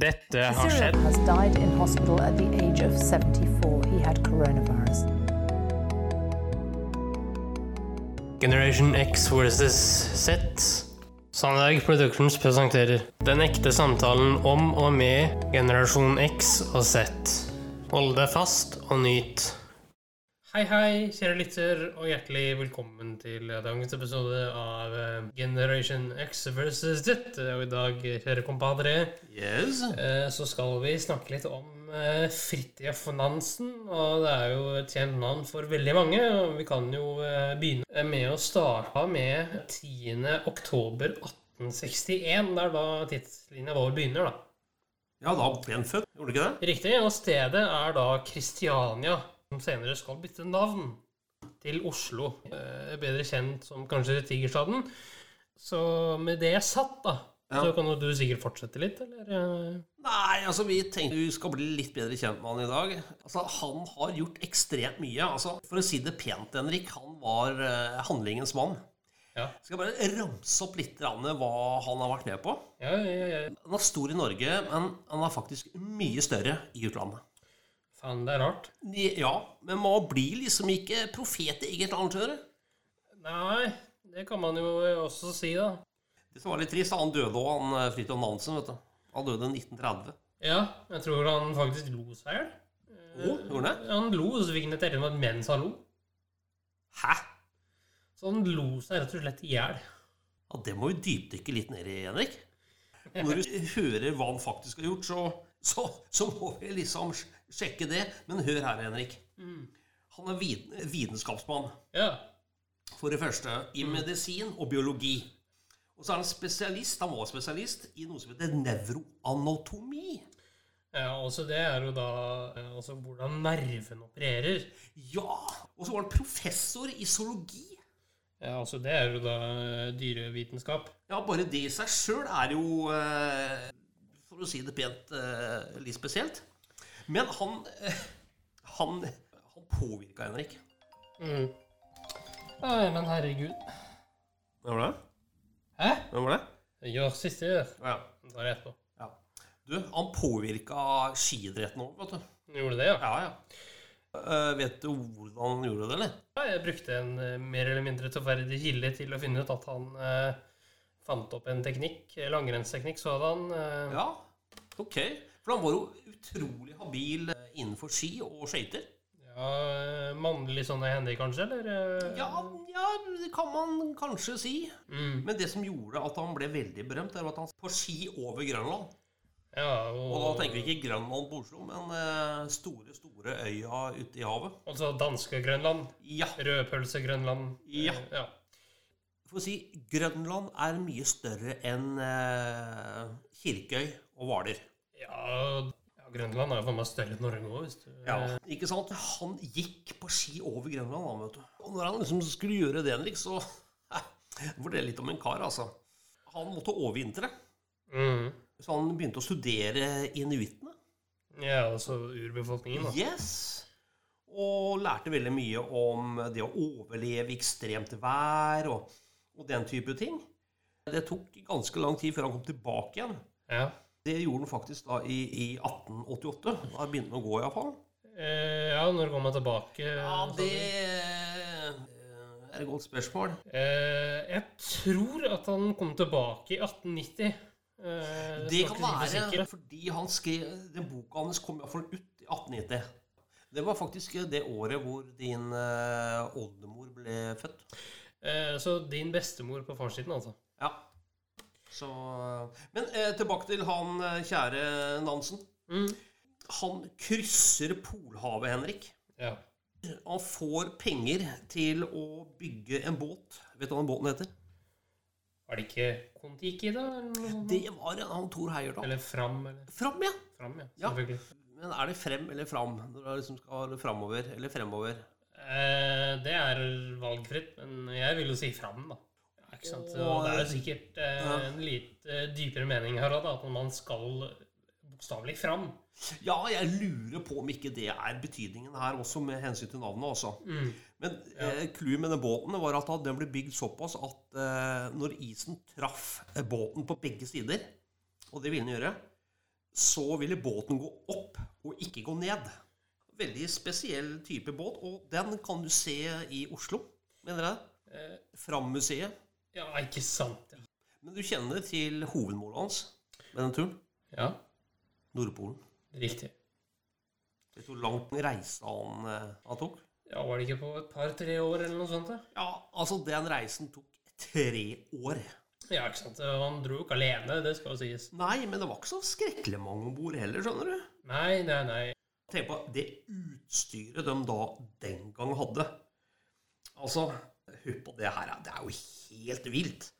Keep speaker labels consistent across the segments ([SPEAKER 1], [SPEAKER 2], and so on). [SPEAKER 1] Dette har
[SPEAKER 2] Cyril
[SPEAKER 1] skjedd.
[SPEAKER 2] has died in hospital at the age of 74. He had coronavirus.
[SPEAKER 1] Generation X versus Z. Sandberg Productions presenterer den ekte samtalen om og med generasjon X og Z. Hold deg fast og nyt. Hei, hei, kjære lytter, og hjertelig velkommen til dagens episode av eh, Generation X versus Z. Og i dag, kjære kompadre,
[SPEAKER 3] Yes.
[SPEAKER 1] Eh, Så skal vi snakke litt om eh, Fridtjof Nansen. Og det er jo et kjent navn for veldig mange. Og vi kan jo eh, begynne med å starte med 10. oktober 1861. Det er da tidslinja vår begynner, da.
[SPEAKER 3] Ja, da ble han født, gjorde han ikke det?
[SPEAKER 1] Riktig. Og stedet er da Kristiania, som senere skal bytte navn til Oslo. Eh, Bedre kjent som kanskje Tigerstaden. Så med det satt, da,
[SPEAKER 3] Ja.
[SPEAKER 1] så kan jo du sikkert fortsette litt, eller? eh?
[SPEAKER 3] Nei, altså vi tenkte du skal bli litt bedre kjent med han i dag. Altså, Han har gjort ekstremt mye. altså. For å si det pent, Henrik, han var eh, handlingens mann.
[SPEAKER 1] Ja.
[SPEAKER 3] Skal jeg bare ramse opp litt grann hva han har vært med på.
[SPEAKER 1] Ja, ja, ja.
[SPEAKER 3] Han er stor i Norge, men han er faktisk mye større i utlandet.
[SPEAKER 1] Faen, det er rart.
[SPEAKER 3] Ja, men man blir liksom ikke profet i eget land, hører du.
[SPEAKER 1] Nei, det kan man jo også si, da.
[SPEAKER 3] Det som var litt trist, han døde òg, han eh, Fridtjof Nansen, vet du. Han døde i 1930.
[SPEAKER 1] Ja, jeg tror han faktisk lo seg i hjel.
[SPEAKER 3] Å, gjorde han det?
[SPEAKER 1] Han lo, og så fikk han et ærend mens han lo.
[SPEAKER 3] Hæ?
[SPEAKER 1] Så han lo seg rett og slett i hjel.
[SPEAKER 3] Ja, det må vi dypdykke litt ned i, Henrik. Når du hører hva han faktisk har gjort, så, så, så må vi liksom sj- sjekke det. Men hør her, Henrik. Han er vit- vitenskapsmann,
[SPEAKER 1] Ja.
[SPEAKER 3] for det første, i medisin og biologi. Og så er han spesialist, han var spesialist i noe som heter nevroanatomi.
[SPEAKER 1] ja også det er jo da eh, altså hvordan nerven opererer.
[SPEAKER 3] Ja! Og så var han professor i zoologi.
[SPEAKER 1] Ja, altså Det er jo da eh, dyrevitenskap.
[SPEAKER 3] Ja, bare det i seg sjøl er jo, eh, for å si det pent, eh, litt spesielt. Men han eh, Han, han påvirka Henrik.
[SPEAKER 1] Mm. Nei, men herregud.
[SPEAKER 3] Hvem var det?
[SPEAKER 1] Hæ?
[SPEAKER 3] Hvem var det?
[SPEAKER 1] Gjør siste gjør.
[SPEAKER 3] Ja.
[SPEAKER 1] Da er det etterpå.
[SPEAKER 3] ja. Du, han påvirka skiidretten òg, vet du.
[SPEAKER 1] Han Gjorde det, ja.
[SPEAKER 3] Ja, ja. Eh, vet du hvordan han gjorde det, eller?
[SPEAKER 1] ja. Jeg brukte en eh, mer eller mindre tilferdig kilde til å finne ut at han eh, fant opp en teknikk, eh, langrennsteknikk sådan. Eh,
[SPEAKER 3] Ja. Ok. For han var jo utrolig habil eh, innenfor ski og skøyter.
[SPEAKER 1] Ja, eh, mannlig sånn er Henrik, kanskje? Eller? eh?
[SPEAKER 3] Ja, ja, det kan man kanskje si.
[SPEAKER 1] Mm.
[SPEAKER 3] Men det som gjorde at han ble veldig berømt, er jo at han på ski over Grønland.
[SPEAKER 1] ja og,
[SPEAKER 3] Og da tenker vi ikke Grønland på Oslo, men eh, store, store øya ute i havet.
[SPEAKER 1] og så danskegrønland.
[SPEAKER 3] Ja,
[SPEAKER 1] Rødpølsegrønland. eh,
[SPEAKER 3] Ja.
[SPEAKER 1] ja.
[SPEAKER 3] for å si Grønland er mye større enn eh, Kirkøy og Hvaler.
[SPEAKER 1] Ja, ja, Grønland er jo for meg større enn Norge òg, hvis du
[SPEAKER 3] Ikke sant? Han gikk på ski over Grønland, han, vet du. Og når han liksom skulle gjøre det, Henrik, så eh, forteller litt om en kar, altså. Han måtte overvintre,
[SPEAKER 1] mm.
[SPEAKER 3] så han begynte å studere inuittene.
[SPEAKER 1] Ja, altså urbefolkningen, da.
[SPEAKER 3] Yes. Og lærte veldig mye om det å overleve ekstremt vær og, og den type ting. Det tok ganske lang tid før han kom tilbake igjen.
[SPEAKER 1] Ja.
[SPEAKER 3] Det gjorde han faktisk da i, i 1888. Da begynte han å gå, iallfall.
[SPEAKER 1] Eh, ja, når kom jeg tilbake?
[SPEAKER 3] Ja,
[SPEAKER 1] sa
[SPEAKER 3] det
[SPEAKER 1] du?
[SPEAKER 3] eh, er et godt spørsmål.
[SPEAKER 1] eh, Jeg tror at han kom tilbake i 1890. Eh,
[SPEAKER 3] Det
[SPEAKER 1] skal ikke
[SPEAKER 3] kan
[SPEAKER 1] si for
[SPEAKER 3] være
[SPEAKER 1] sikkert.
[SPEAKER 3] fordi han skrev Den boka hans kom iallfall ut i 1890. Det var faktisk det året hvor din eh, oldemor ble født.
[SPEAKER 1] Eh, så din bestemor på farssiden, altså.
[SPEAKER 3] Ja. Så, men eh, tilbake til han eh, kjære Nansen.
[SPEAKER 1] Mm.
[SPEAKER 3] Han krysser Polhavet, Henrik.
[SPEAKER 1] Ja.
[SPEAKER 3] Han får penger til å bygge en båt. Vet du hva den båten heter?
[SPEAKER 1] Var det ikke Kon-Tiki, da? Eller, noe sånt?
[SPEAKER 3] Det var en han Thor Heyerdahl.
[SPEAKER 1] eller Fram? Eller?
[SPEAKER 3] Fram, ja.
[SPEAKER 1] Fram, ja.
[SPEAKER 3] Ja.
[SPEAKER 1] Selvfølgelig.
[SPEAKER 3] Men er det frem eller fram? Når det liksom skal framover eller fremover?
[SPEAKER 1] Eh, det er valgfritt, men jeg vil jo si fram, da. Ja, ikke sant? Og det er jo sikkert eh,
[SPEAKER 3] Ja.
[SPEAKER 1] en litt eh, dypere mening her òg, at man skal bokstavelig fram.
[SPEAKER 3] Ja, jeg lurer på om ikke det er betydningen her også, med hensyn til navnet. også. Men eh, clouet med den båten var at den ble bygd såpass at eh, når isen traff eh, båten på begge sider, og det ville den gjøre, så ville båten gå opp og ikke gå ned. Veldig spesiell type båt, og den kan du se i Oslo, mener jeg. Fram-museet.
[SPEAKER 1] Ja, ikke sant. Ja.
[SPEAKER 3] Men du kjenner til hovedmålet hans med den turen?
[SPEAKER 1] ja,
[SPEAKER 3] Nordpolen.
[SPEAKER 1] riktig.
[SPEAKER 3] Vet du hvor lang reise han, eh, han tok?
[SPEAKER 1] Ja, Var det ikke på et par-tre år eller noe sånt? da?
[SPEAKER 3] Ja, altså, den reisen tok tre år.
[SPEAKER 1] Ja, ikke sant. Og Han dro jo ikke alene, det skal jo sies.
[SPEAKER 3] Nei, men det var ikke så skrekkelig mange om bord heller, skjønner du.
[SPEAKER 1] Nei, nei, nei.
[SPEAKER 3] Tenk på det utstyret de da den gang hadde. Altså, hør på det her. Det er jo helt vilt.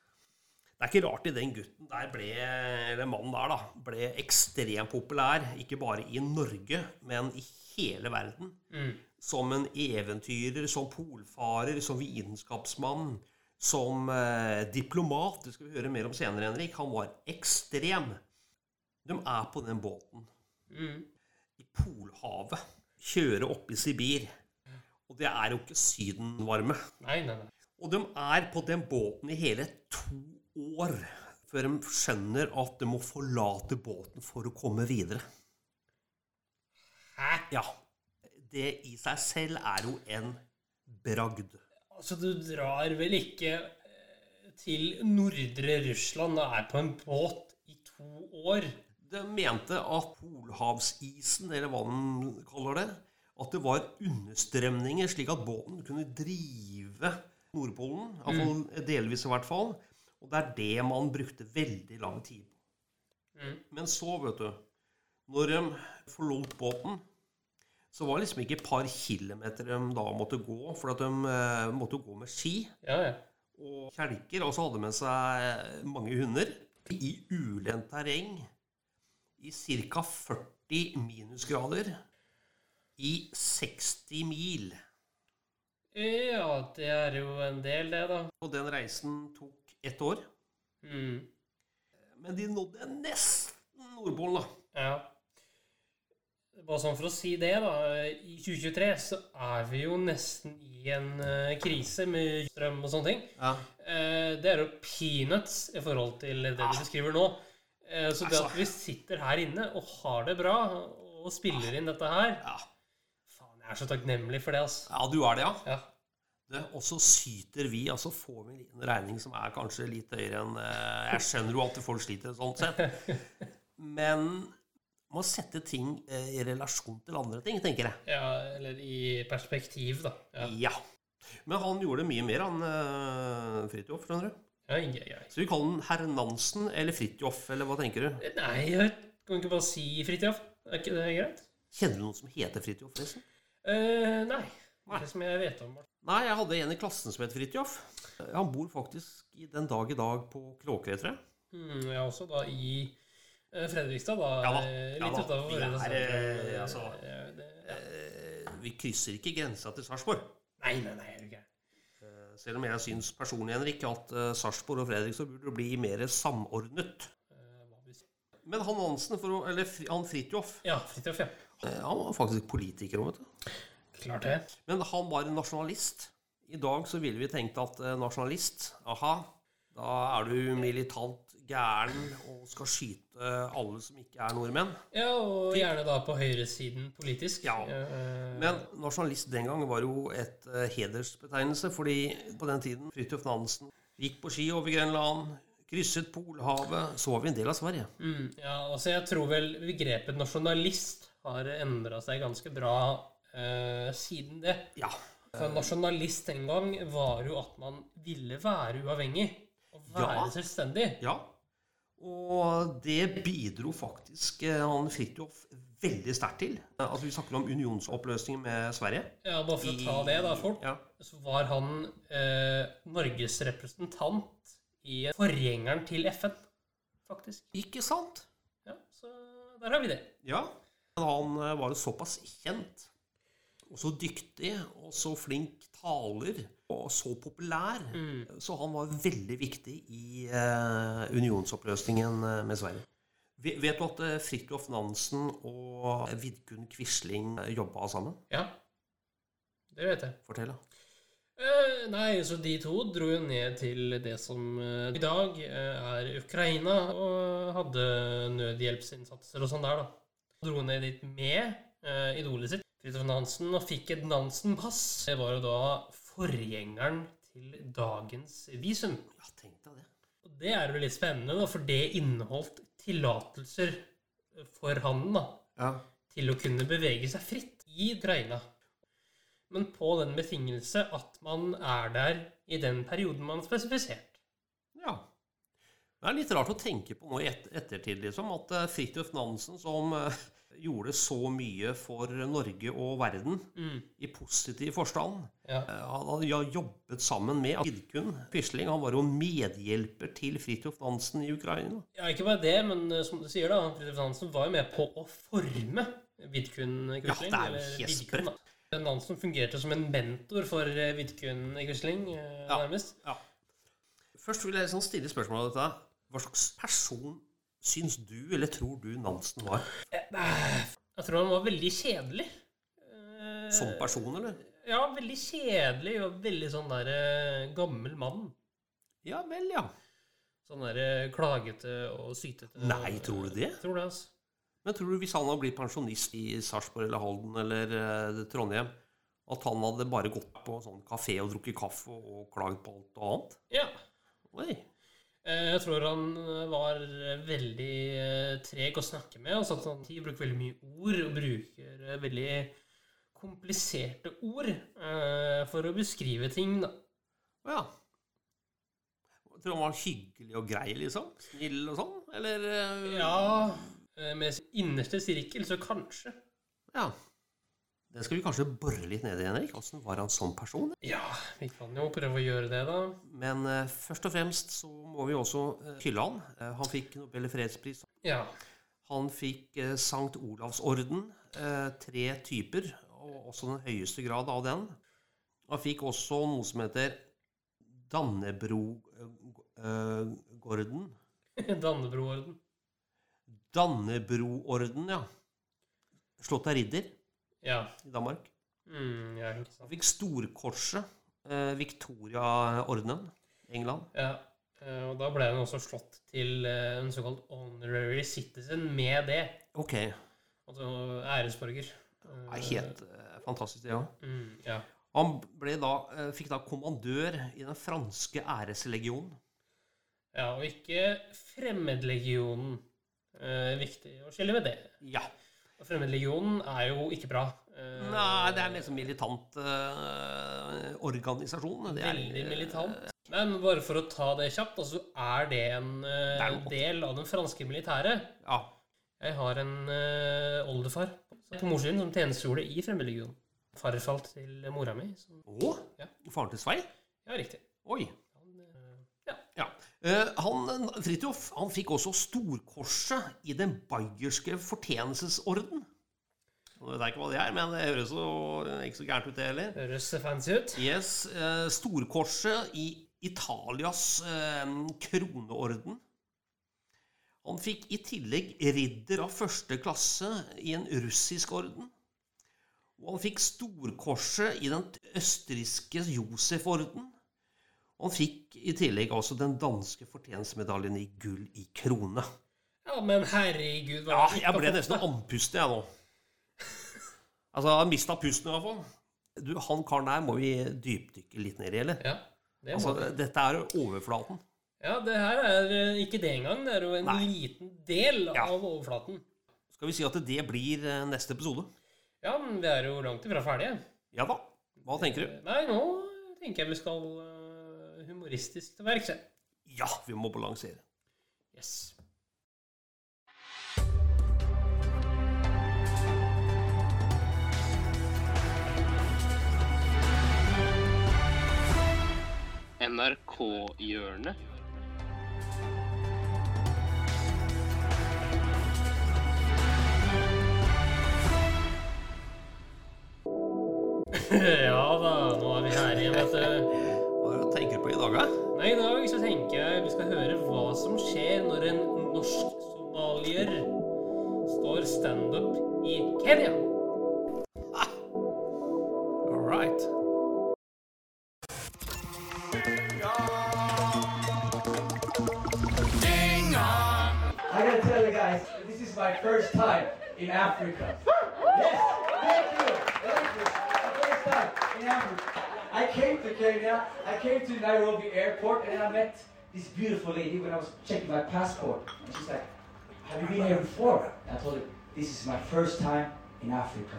[SPEAKER 3] Det er ikke rart i den gutten der ble, eller mannen der da, ble ekstremt populær, ikke bare i Norge, men i hele verden. Som en eventyrer, som polfarer, som vitenskapsmann, som eh, diplomat. Det skal vi høre mer om senere, Henrik. Han var ekstrem. De er på den båten
[SPEAKER 1] Mm.
[SPEAKER 3] i Polhavet, kjøre opp i Sibir. Og det er jo ikke sydenvarme.
[SPEAKER 1] Nei, nei, nei.
[SPEAKER 3] Og de er på den båten i hele to år før de skjønner at de må forlate båten for å komme videre.
[SPEAKER 1] Hæ?
[SPEAKER 3] Ja, det i seg selv er jo en bragd.
[SPEAKER 1] Altså, du drar vel ikke eh, til nordre Russland og er på en båt i to år?
[SPEAKER 3] De mente at polhavsisen, eller hva de kaller det, at det var understrømninger, slik at båten kunne drive Nordpolen, iallfall delvis i hvert fall. Og det er det man brukte veldig lang tid på. Men så, vet du Når de forlot båten, så var det liksom ikke et par kilometer de da måtte gå, for at de eh, måtte gå med ski
[SPEAKER 1] Ja, ja.
[SPEAKER 3] og kjelker, og så hadde med seg mange hunder i ulendt terreng i ca. 40 minusgrader i 60 mil.
[SPEAKER 1] Ja, det er jo en del, det, da.
[SPEAKER 3] Og den reisen tok ett år.
[SPEAKER 1] Mm.
[SPEAKER 3] Men de nådde nesten Nordpolen, da.
[SPEAKER 1] Ja. Bare sånn for å si det, da. I 2023 så er vi jo nesten i en eh, krise med strøm og sånne ting. Eh, Det er jo peanuts i forhold til det
[SPEAKER 3] Ah.
[SPEAKER 1] du beskriver nå. Eh, Så det
[SPEAKER 3] Altså.
[SPEAKER 1] at vi sitter her inne og har det bra og spiller inn dette her
[SPEAKER 3] Ja.
[SPEAKER 1] Faen, jeg er så takknemlig for det, altså.
[SPEAKER 3] ja, du er det, ja?
[SPEAKER 1] Ja.
[SPEAKER 3] Det, og så syter vi, altså får vi en regning som er kanskje litt høyere enn eh, Jeg skjønner jo alltid folk sliter sånn sett. Men man setter ting eh, i relasjon til andre ting, tenker jeg.
[SPEAKER 1] ja. Eller i perspektiv, da. Ja,
[SPEAKER 3] Ja. Men han gjorde mye mer, han eh, Fridtjof, skjønner du.
[SPEAKER 1] ja, ja, ja.
[SPEAKER 3] Skal vi kalle han herr Nansen eller Fridtjof, eller hva tenker du?
[SPEAKER 1] Nei, jeg kan ikke bare si Fridtjof. Er ikke det greit?
[SPEAKER 3] Kjenner du noen som heter Fridtjof, forresten?
[SPEAKER 1] Eh, nei. Ikke som jeg vet om.
[SPEAKER 3] Nei, jeg hadde en i klassen som het Fridtjof. Eh, Han bor faktisk i den dag i dag på Kråkerøy,
[SPEAKER 1] Mm, jeg er også da i eh, Fredrikstad, da.
[SPEAKER 3] Ja da,
[SPEAKER 1] eh,
[SPEAKER 3] ja
[SPEAKER 1] Litt
[SPEAKER 3] da.
[SPEAKER 1] utenfor
[SPEAKER 3] Vi er,
[SPEAKER 1] Fredrikstad.
[SPEAKER 3] eh, altså-
[SPEAKER 1] Ja, det-
[SPEAKER 3] Eh, Vi krysser ikke grensa til Sarpsborg. Eh,
[SPEAKER 1] Nei, nei, nei, er du gæren.
[SPEAKER 3] Selv om jeg syns personlig Henrik, at eh, Sarpsborg og Fredrikstad burde bli mer samordnet.
[SPEAKER 1] Eh, hva vil jeg si?
[SPEAKER 3] Men han Hansen, for å, eller Fri- han Fridtjof,
[SPEAKER 1] Ja, Fridtjof, ja.
[SPEAKER 3] eh, han var faktisk politiker òg, vet du.
[SPEAKER 1] Klart det.
[SPEAKER 3] Men han var en nasjonalist. I dag så ville vi tenkt at eh, nasjonalist, aha, da er du militant gæren og skal skyte eh, alle som ikke er nordmenn.
[SPEAKER 1] Ja, og gjerne da på høyresiden politisk.
[SPEAKER 3] Ja.
[SPEAKER 1] Eh,
[SPEAKER 3] Men nasjonalist den gang var jo et eh, hedersbetegnelse, fordi på den tiden Fridtjof Nansen gikk på ski over Grenland, krysset Polhavet, så var vi en del av Sverige.
[SPEAKER 1] mm, ja, altså jeg tror vel begrepet nasjonalist har endra seg ganske bra eh, siden det.
[SPEAKER 3] Ja.
[SPEAKER 1] For
[SPEAKER 3] Eh.
[SPEAKER 1] nasjonalist den gang var jo at man ville være uavhengig. Og være
[SPEAKER 3] Ja.
[SPEAKER 1] selvstendig.
[SPEAKER 3] Ja. Og det bidro faktisk eh, han Fridtjof veldig sterkt til. Eh, Altså, vi snakker om unionsoppløsningen med Sverige.
[SPEAKER 1] Ja, bare for å ta det da fort,
[SPEAKER 3] Ja.
[SPEAKER 1] så var han eh, Norges representant i forgjengeren til FN, faktisk.
[SPEAKER 3] Ikke sant?
[SPEAKER 1] Ja, så der har vi det.
[SPEAKER 3] Ja. Han eh, var jo såpass kjent, og så dyktig, og så flink taler, og så populær. Så han var veldig viktig i eh, unionsoppløsningen eh, med Sverige. Ve- Vet du at eh, Fridtjof Nansen og Vidkun Quisling eh, jobba sammen?
[SPEAKER 1] Ja. Det vet jeg.
[SPEAKER 3] Fortell, da.
[SPEAKER 1] Eh, Eh, Nei, så de to dro jo ned til det som eh, i dag eh, er Ukraina, og hadde nødhjelpsinnsatser og sånn der, da. Dro ned dit med eh, idolet sitt, Fridtjof Nansen, og fikk et Nansen-pass. Det var jo da forgjengeren til dagens visum.
[SPEAKER 3] Ja, tenk deg det.
[SPEAKER 1] Og det er jo litt spennende, da, for det inneholdt tillatelser for handel, da
[SPEAKER 3] Ja.
[SPEAKER 1] til å kunne bevege seg fritt i Ukraina. Men på den betingelse at man er der i den perioden man har spesifisert.
[SPEAKER 3] ja. Det er litt rart å tenke på nå i et ettertid, liksom, at eh, Fridtjof Nansen, som eh, gjorde så mye for Norge og verden, i positiv forstand
[SPEAKER 1] Ja.
[SPEAKER 3] eh, Han hadde ja jobbet sammen med Vidkun Quisling. Han var jo medhjelper til Fridtjof Nansen i Ukraina.
[SPEAKER 1] ja, ikke bare det, men eh, som du sier, da, Fridtjof Nansen var jo med på å forme Vidkun Quisling.
[SPEAKER 3] Ja, det er jo
[SPEAKER 1] eller
[SPEAKER 3] helt
[SPEAKER 1] Vidkun, da. Nansen fungerte som en mentor for eh, Vidkun Quisling, eh,
[SPEAKER 3] Ja.
[SPEAKER 1] nærmest.
[SPEAKER 3] Ja. Først vil jeg sånn stille spørsmål om dette. Hva slags person syns du, eller tror du, Nansen var?
[SPEAKER 1] Jeg tror han var veldig kjedelig. Eh,
[SPEAKER 3] Som person, eller?
[SPEAKER 1] Ja, veldig kjedelig og veldig sånn der eh, gammel mann.
[SPEAKER 3] Ja vel, ja.
[SPEAKER 1] Sånn der eh, klagete og sytete.
[SPEAKER 3] Nei, tror du det?
[SPEAKER 1] Jeg tror det, altså.
[SPEAKER 3] Men tror du hvis han hadde blitt pensjonist i Sarpsborg eller Halden eller eh, Trondheim, at han hadde bare gått på sånn kafé og drukket kaffe og klagd på alt og annet?
[SPEAKER 1] Ja.
[SPEAKER 3] Oi.
[SPEAKER 1] Eh, Jeg tror han eh, var eh, veldig eh, treg å snakke med. Altså at han bruker veldig mye ord, og bruker eh, veldig kompliserte ord eh, for å beskrive ting. Da.
[SPEAKER 3] Å ja. Tror du han var hyggelig og grei, liksom? Snill og sånn? Eller eh,
[SPEAKER 1] Ja, eh, med sin innerste sirkel, så kanskje.
[SPEAKER 3] ja. Det skal vi kanskje bore litt ned i, Henrik. Åssen var han som person?
[SPEAKER 1] Ja, vi kan jo prøve å gjøre det, da.
[SPEAKER 3] Men eh, først og fremst så må vi også eh, hylle han. Eh, han fikk Nobel fredspris.
[SPEAKER 1] Ja.
[SPEAKER 3] Han fikk eh, Sankt Olavsorden, eh, tre typer, og også den høyeste grad av den. Han fikk også noe som heter eh, Dannebrogorden.
[SPEAKER 1] Dannebroorden.
[SPEAKER 3] Dannebroorden, ja. Slått av ridder
[SPEAKER 1] Ja.
[SPEAKER 3] i Danmark.
[SPEAKER 1] Mm, ja, ikke sant.
[SPEAKER 3] Han fikk Storkorset, eh, Victoriaordenen, England.
[SPEAKER 1] Ja, eh, og da ble han også slått til eh, en såkalt honorary citizen med det.
[SPEAKER 3] Ok, det
[SPEAKER 1] Altså æresborger. Eh,
[SPEAKER 3] er helt eh, fantastisk det, ja.
[SPEAKER 1] Mm, ja.
[SPEAKER 3] Han ble da, eh, fikk da kommandør i den franske æreslegionen.
[SPEAKER 1] ja, og ikke Fremmedlegionen. Eh, viktig å skille ved det.
[SPEAKER 3] Ja.
[SPEAKER 1] Og Fremmedlegionen er jo ikke bra. Eh,
[SPEAKER 3] Nei, det er en liksom militant eh, organisasjon. Det er,
[SPEAKER 1] Veldig militant. Men bare for å ta det kjapt, altså er det en eh,
[SPEAKER 3] Det er jo-
[SPEAKER 1] del av den franske militære.
[SPEAKER 3] Ja.
[SPEAKER 1] Jeg har en eh, oldefar på morssiden som tjenestegjorde i Fremmedlegionen. Farfar til mora mi. Som,
[SPEAKER 3] Og
[SPEAKER 1] Ja.
[SPEAKER 3] faren til Svein.
[SPEAKER 1] ja, riktig.
[SPEAKER 3] Oi.
[SPEAKER 1] Han, eh, ja.
[SPEAKER 3] Ja. Eh, han, Fridtjof han fikk også Storkorset i den bayerske fortjenelsesorden. Jeg vet jeg ikke hva det er, men det høres jo ikke så gærent ut, det heller.
[SPEAKER 1] Høres fancy ut.
[SPEAKER 3] Yes, eh, Storkorset i Italias eh, kroneorden. Han fikk i tillegg ridder av første klasse i en russisk orden. Og han fikk Storkorset i den østerrikske Josef-orden. Og han fikk i tillegg også den danske fortjenstmedaljen i gull i krone.
[SPEAKER 1] Ja, men herregud hva
[SPEAKER 3] Ja,
[SPEAKER 1] er det
[SPEAKER 3] jeg
[SPEAKER 1] ikke å
[SPEAKER 3] ble
[SPEAKER 1] få-
[SPEAKER 3] nesten andpusten, jeg nå. Altså, jeg mista pusten i hvert fall. Du, Han karen der må vi dypdykke litt ned i, eller?
[SPEAKER 1] Ja, det, må
[SPEAKER 3] Altså,
[SPEAKER 1] vi.
[SPEAKER 3] dette er jo overflaten.
[SPEAKER 1] ja, det her er eh, ikke det engang. Det er jo en
[SPEAKER 3] Nei.
[SPEAKER 1] liten del
[SPEAKER 3] Ja.
[SPEAKER 1] av overflaten.
[SPEAKER 3] Skal vi si at det blir eh, neste episode?
[SPEAKER 1] Ja, men vi er jo langt ifra ferdige.
[SPEAKER 3] Ja da. Hva tenker du?
[SPEAKER 1] Nei, nå tenker jeg vi skal eh, humoristisk til verks. jeg.
[SPEAKER 3] Ja, vi må balansere.
[SPEAKER 1] Yes. NRK-hjørnet. ja da, nå er vi her igjen, vet du.
[SPEAKER 3] Hva er det du tenker på i dag, da?
[SPEAKER 1] Nei, i dag så tenker jeg vi skal høre hva som skjer når en norsk-somalier står standup i Kenya.
[SPEAKER 3] All right.
[SPEAKER 4] first time in Africa. Yes, thank you, thank you. My First time in Africa. I came to Kenya, I came to Nairobi airport, and I met this beautiful lady when I was checking my passport. And she's like, Have you been here before? And I told her, This is my first time in Africa.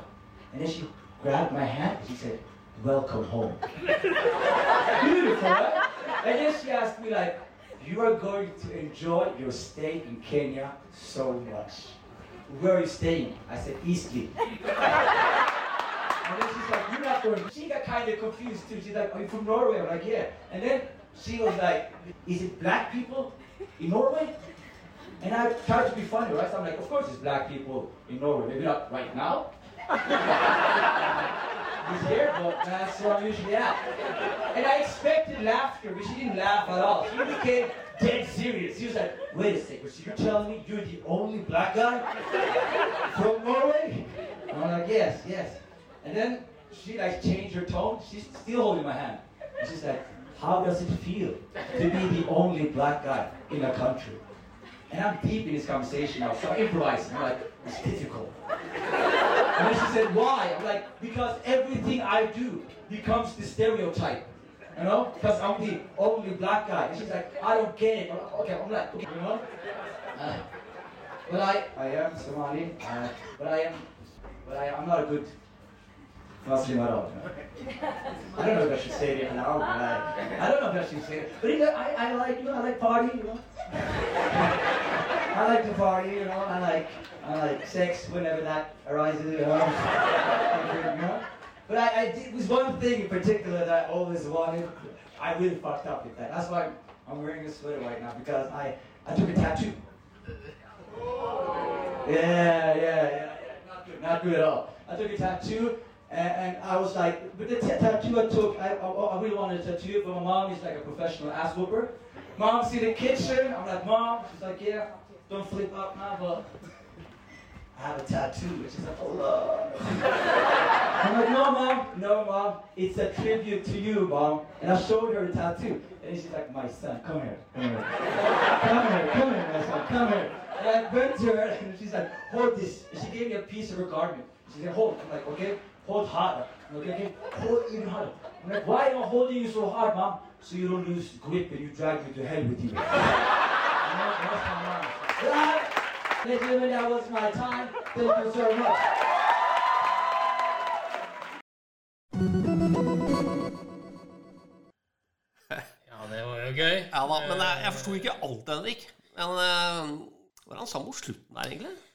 [SPEAKER 4] And then she grabbed my hand and she said, Welcome home beautiful, right? And then she asked me like, you are going to enjoy your stay in Kenya so much. Where are you staying? I said, Eastleigh. and then she's like, you're not going. She got kind of confused too. She's like, are you from Norway? I'm like, yeah. And then she was like, is it black people in Norway? And I tried to be funny, right? So I'm like, of course it's black people in Norway. Maybe not right now. this year, but that's what I'm usually at. And I expected laughter, but she didn't laugh at all. She became dead serious. She was like, wait a second, so you're telling me you're the only black guy from Norway? And I'm like, yes, yes. And then she like changed her tone. She's still holding my hand. And she's like, how does it feel to be the only black guy in a country? And I'm deep in this conversation now, so I'm improvising. I'm like, it's difficult. And then she said, why? I'm like, because everything I do becomes the stereotype. You know? Because I'm the only black guy. And she's like, I don't get it. I'm like, okay, I'm like, okay, you know? Uh, but I, I am Somali, uh, but I am, but I, I'm not a good Muslim at all. You know? I don't know if I should say it aloud, but I, I don't know if I should say it. But you know, I, I like, you know, I like party, you know? I like to party, you know. I like I like sex whenever that arises, you know. You know? but I, I did, it was one thing in particular that I always wanted. I really fucked up with that. That's why I'm, I'm wearing this sweater right now because I I took a tattoo. Yeah, yeah, yeah. Not good, not good at all. I took a tattoo, and, and I was like, but the t- tattoo I took, I, I, I really wanted a tattoo, but my mom is like a professional ass whooper. Mom's in the kitchen. I'm like, mom. She's like, yeah. Don't flip out now, but I have a tattoo. And she's like, oh lord. I'm like, no, mom, no, mom. It's a tribute to you, mom. And I showed her a tattoo, and she's like, my son, come here, come here come here, come here, my son, come here. And I went to her and she's like, hold this. And she gave me a piece of her garment. She said, hold. I'm like, okay, hold harder. I'm like, okay, hold even harder. I'm like, why am I holding you so hard, mom? So you don't lose grip and you drag me to hell with you. And that- that's my mom. Right? Ladies and gentlemen, that was my time. Thank you so much.
[SPEAKER 1] Ja, det var jo gøy.
[SPEAKER 3] Ja da, men eh, jeg, jeg forsto ikke alt, Henrik. Men eh, hva var det han sa mot slutten der, egentlig?
[SPEAKER 1] Eh,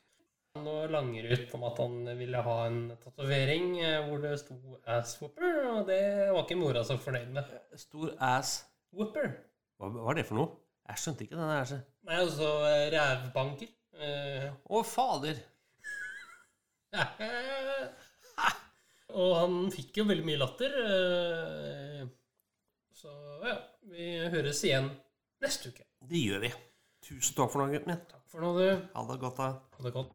[SPEAKER 1] Nå langer ut om at han ville ha en tatovering eh, hvor det sto 'ass whooper', og det var ikke mora så fornøyd med.
[SPEAKER 3] Stor ass
[SPEAKER 1] Whooper.
[SPEAKER 3] Hva hva er det for noe? Jeg skjønte ikke den her.
[SPEAKER 1] Nei, altså eh, rævbanker. Eh,
[SPEAKER 3] Å, fader.
[SPEAKER 1] Og han fikk jo veldig mye latter. eh, Så ja, vi høres igjen neste uke.
[SPEAKER 3] Det gjør vi. Tusen takk for nå, gutten min.
[SPEAKER 1] Takk for nå, du.
[SPEAKER 3] Ha det godt, da.
[SPEAKER 1] Ha det godt.